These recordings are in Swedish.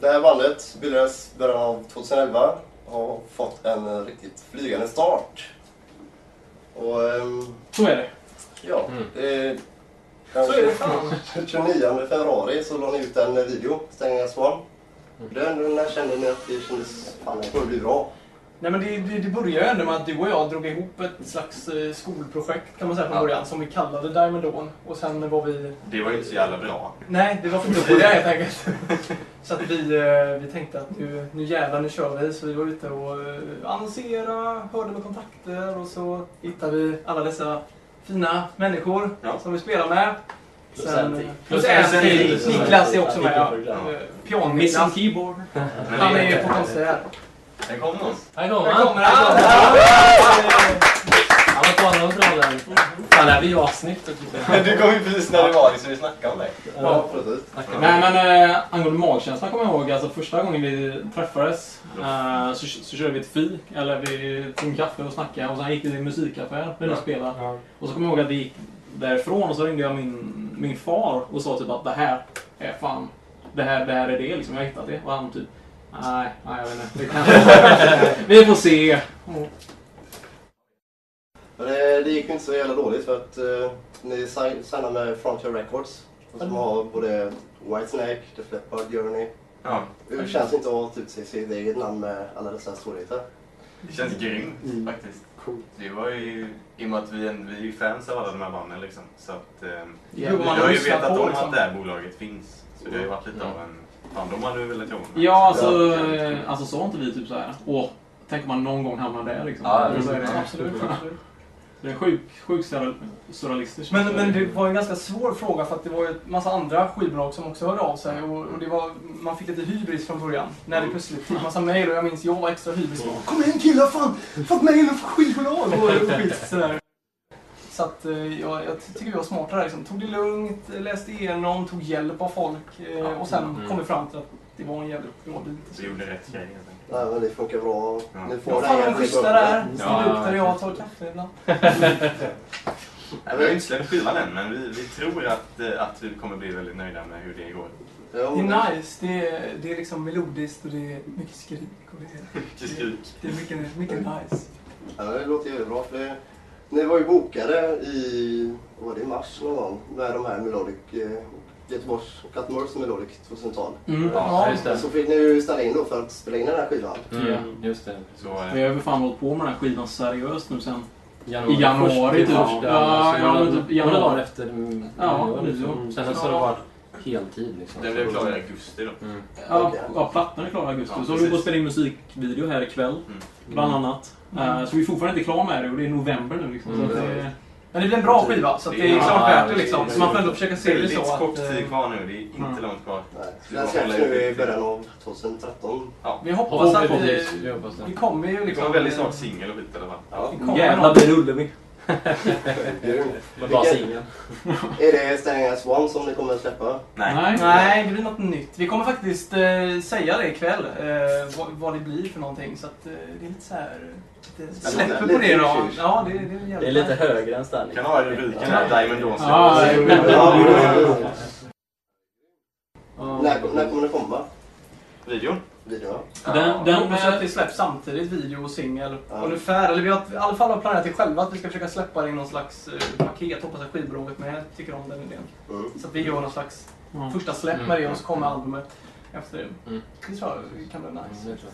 Det här bandet bildades i början av 2011 och har fått en eh, riktigt flygande start. Och ehm, Så är det. ja, Mm. det Så är det kanske fan. 29 februari så la ni ut en video, Stänga Swan. Mm. Den, när kände ni att det kändes, fan det kommer bli bra. Nej men det, det, det började ju ändå med att du och jag drog ihop ett slags eh, skolprojekt kan man säga från Ja. början som vi kallade Diamond Dawn. Och sen var vi... Det var ju inte så jävla bra. Nej, det var för dåliga helt enkelt. Så att vi, eh, vi tänkte att nu, nu jävlar, nu kör vi. Så vi var ute och eh, annonserade, hörde med kontakter och så hittade vi alla dessa fina människor Ja. som vi spelar med. Plus Sen- Antti. Plus Plus Antti. Antti. Niklas är också med. ja. Ja. Eh, Pian-Niklas. keyboard. Men Han det- är på konsert. Där kom någon. Här kommer Där han. kommer han! Han var kvar någon bra där. Fan, det här blir ju avsnyggt att klippa. Men du kom ju precis när det var liksom vi snackade om det. Ja, precis. Nej men eh, angående magkänslan kommer jag ihåg, alltså första gången vi träffades eh, så, så körde vi ett fik, eller vi tog en kaffe och snackade och sen gick vi till en musikaffär där du spelade. Och så kommer jag ihåg att vi gick därifrån och så ringde jag min, min far och sa typ att det här är fan, det här, det här är det liksom, jag har hittat det. Och han typ, nej, nej jag vet inte. Det kan... vi får se. Men eh, det, det gick ju inte så jävla dåligt för att eh, ni sign- signade med Frontier Records. Mm. Som har både Whitesnake, The Flippard, Journey. Ja, Mm. Det känns inte att ha typ sitt sitt eget namn med alla dessa storheter. det känns grymt faktiskt. Coolt. Det var ju, i och med att vi, är- vi är ju fans av alla de här banden liksom. Så att, ehm, Jo, vi man har ju lyssnar vetat på, om liksom. att det här bolaget finns. Så det har ju varit lite av en, fan de hade ju velat jobba med. Ja, alltså, eh, alltså sa inte vi typ så här. åh, tänk om man någon gång hamnar där liksom. Ja, Och så är det- Absolut, absolut. Det är en sjuk, sjuk surreal- surrealistisk. Men, men det var en ganska svår fråga för att det var ju en massa andra skivbolag som också hörde av sig och, och det var, man fick lite hybris från början. När det Mm. plötsligt fick massa mejl och jag minns jag var extra hybris. Kom igen killar, fan! Fått mejl från skivbolag! Och, och skit sådär. Så att eh, jag, jag tycker vi var smarta där liksom. Tog det lugnt, läste igenom, tog hjälp av folk eh, och sen Mm. kom vi fram till att det var en jävligt bra bit. Vi gjorde rätt grej helt enkelt. Nej men det funkar bra. Ja. Ni får Ja, det fan här vad schyssta det jävla- är! Ja, Sen luktar jag och tar kaffe ibland. Nej, vi har ju inte släppt skivan än, men vi, vi tror att, eh, att vi kommer bli väldigt nöjda med hur det går. Ja, Det men- är nice, det är, det är liksom melodiskt och det är mycket skrik och det är... Mycket skrik. Det är mycket, mycket nice. Ja, det låter ju bra. För det, ni var ju bokade i, vad var det, i mars någon gång med de här Melodic, eh, Göteborgs Cutmores Melodic 2012. Mm. Ja, just det. Så fick ni ju ställa in då för att spela in den här skivan. Mm, just det. Så, eh, Vi har ju fan hållit på med den här skivan seriöst nu sen. Januari, alltså, I januari, först- typ. första- Ja, så ja, några- men typ några januari. dagar efter mm, Ja, nyår, liksom. nyår. Sen så har det varit heltid liksom. den blev klar i augusti då. Mm. Ja, Okej. ja plattan är klar i augusti. Ja, så håller vi på precis. att spela in musikvideo här ikväll, bland annat. Mm. Eh, så vi är fortfarande inte klara med det och det är november nu liksom. Så att det, Men det blir en bra skiva, så att det är Ja, klart värt det det är- liksom. Så man får ändå försöka se det Väldigt så kort att... tid eh, kvar nu, det är inte Mm. långt kvar. Nej. Så Den vi får släpps hålla nu i ut. början av 2013. Vi hoppas att vi... Förhoppningsvis. Jag hoppas Vi det. kommer ju Det kommer liksom... väldigt snart singel och skit i alla fall. Ja, det kommer jävla någon- blir Ullevi. Men bara Vilken- singeln. Är det Stängningar Swan som ni kommer att släppa? Nej. Nej, det blir något nytt. Vi kommer faktiskt eh, säga det ikväll, eh, vad, vad det blir för någonting. Så att eh, det är lite så här... Lite släpper på lite det då. tjus. Ja, det, det är jävligt Det är lite nice. högre än Stanley. Kan ha i rubriken här, Diamond Dawns. Ja, det är bra. Ja, Ja. Mm. När, när kommer det komma? Videon? Videorna? Den, Jag den, hoppas att vi släpps samtidigt, video och singel. Ja. Ungefär. Eller vi har i alla fall har planerat det själva att vi ska försöka släppa det i någon slags eh, paket. Hoppas att skivbolaget med tycker om den idén. Mm. Så att vi gör någon slags ja. första släpp med det och så kommer albumet efter det. Mm. Det tror jag kan bli nice.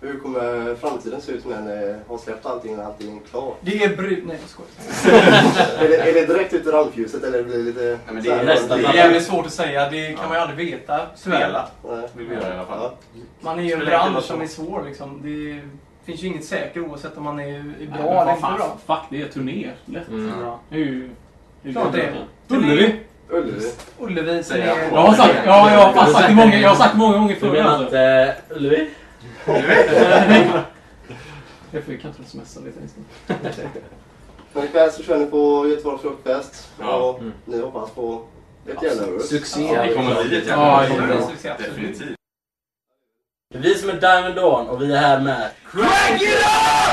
Hur kommer framtiden se ut när ni har släppt allting och allting är klart? Det är brut... Nej jag skojar. Är det, är det direkt ut i rampljuset eller blir det lite... men det så är här- nästan- Det är jävligt svårt att säga, det kan Ja. man ju aldrig veta. Tyvärr. Spela Nej. vill vi göra i alla fall. Ja. Man är ju en Spelar inte vad bransch som- som är svår liksom. Det finns ju inget säkert oavsett om man är är Nej, bra men vad eller inte fan, bra. Fuck, det är turné. Lätt. Mm. Bra. Det är ju... det är ju Klart det är. bra. Ullevi. Ullevi. Ullevi som Säger jag. är... Jag har sagt, ja, jag har sagt det många, jag har sagt det många gånger Du förr. menar Alltså. inte Ullevi? Jag får ju kanske smsa lite istället. Men ikväll så kör ni på Göteborgs Rockfest Ja. Alltså, och Mm. ni hoppas på ett jävla överhuvud. Succé. Det kommer bli ett Ja, jävla det Ullevi är video. som är- Definitivt. Det är vi som är Diamond Dawn och vi är här med Crank it up!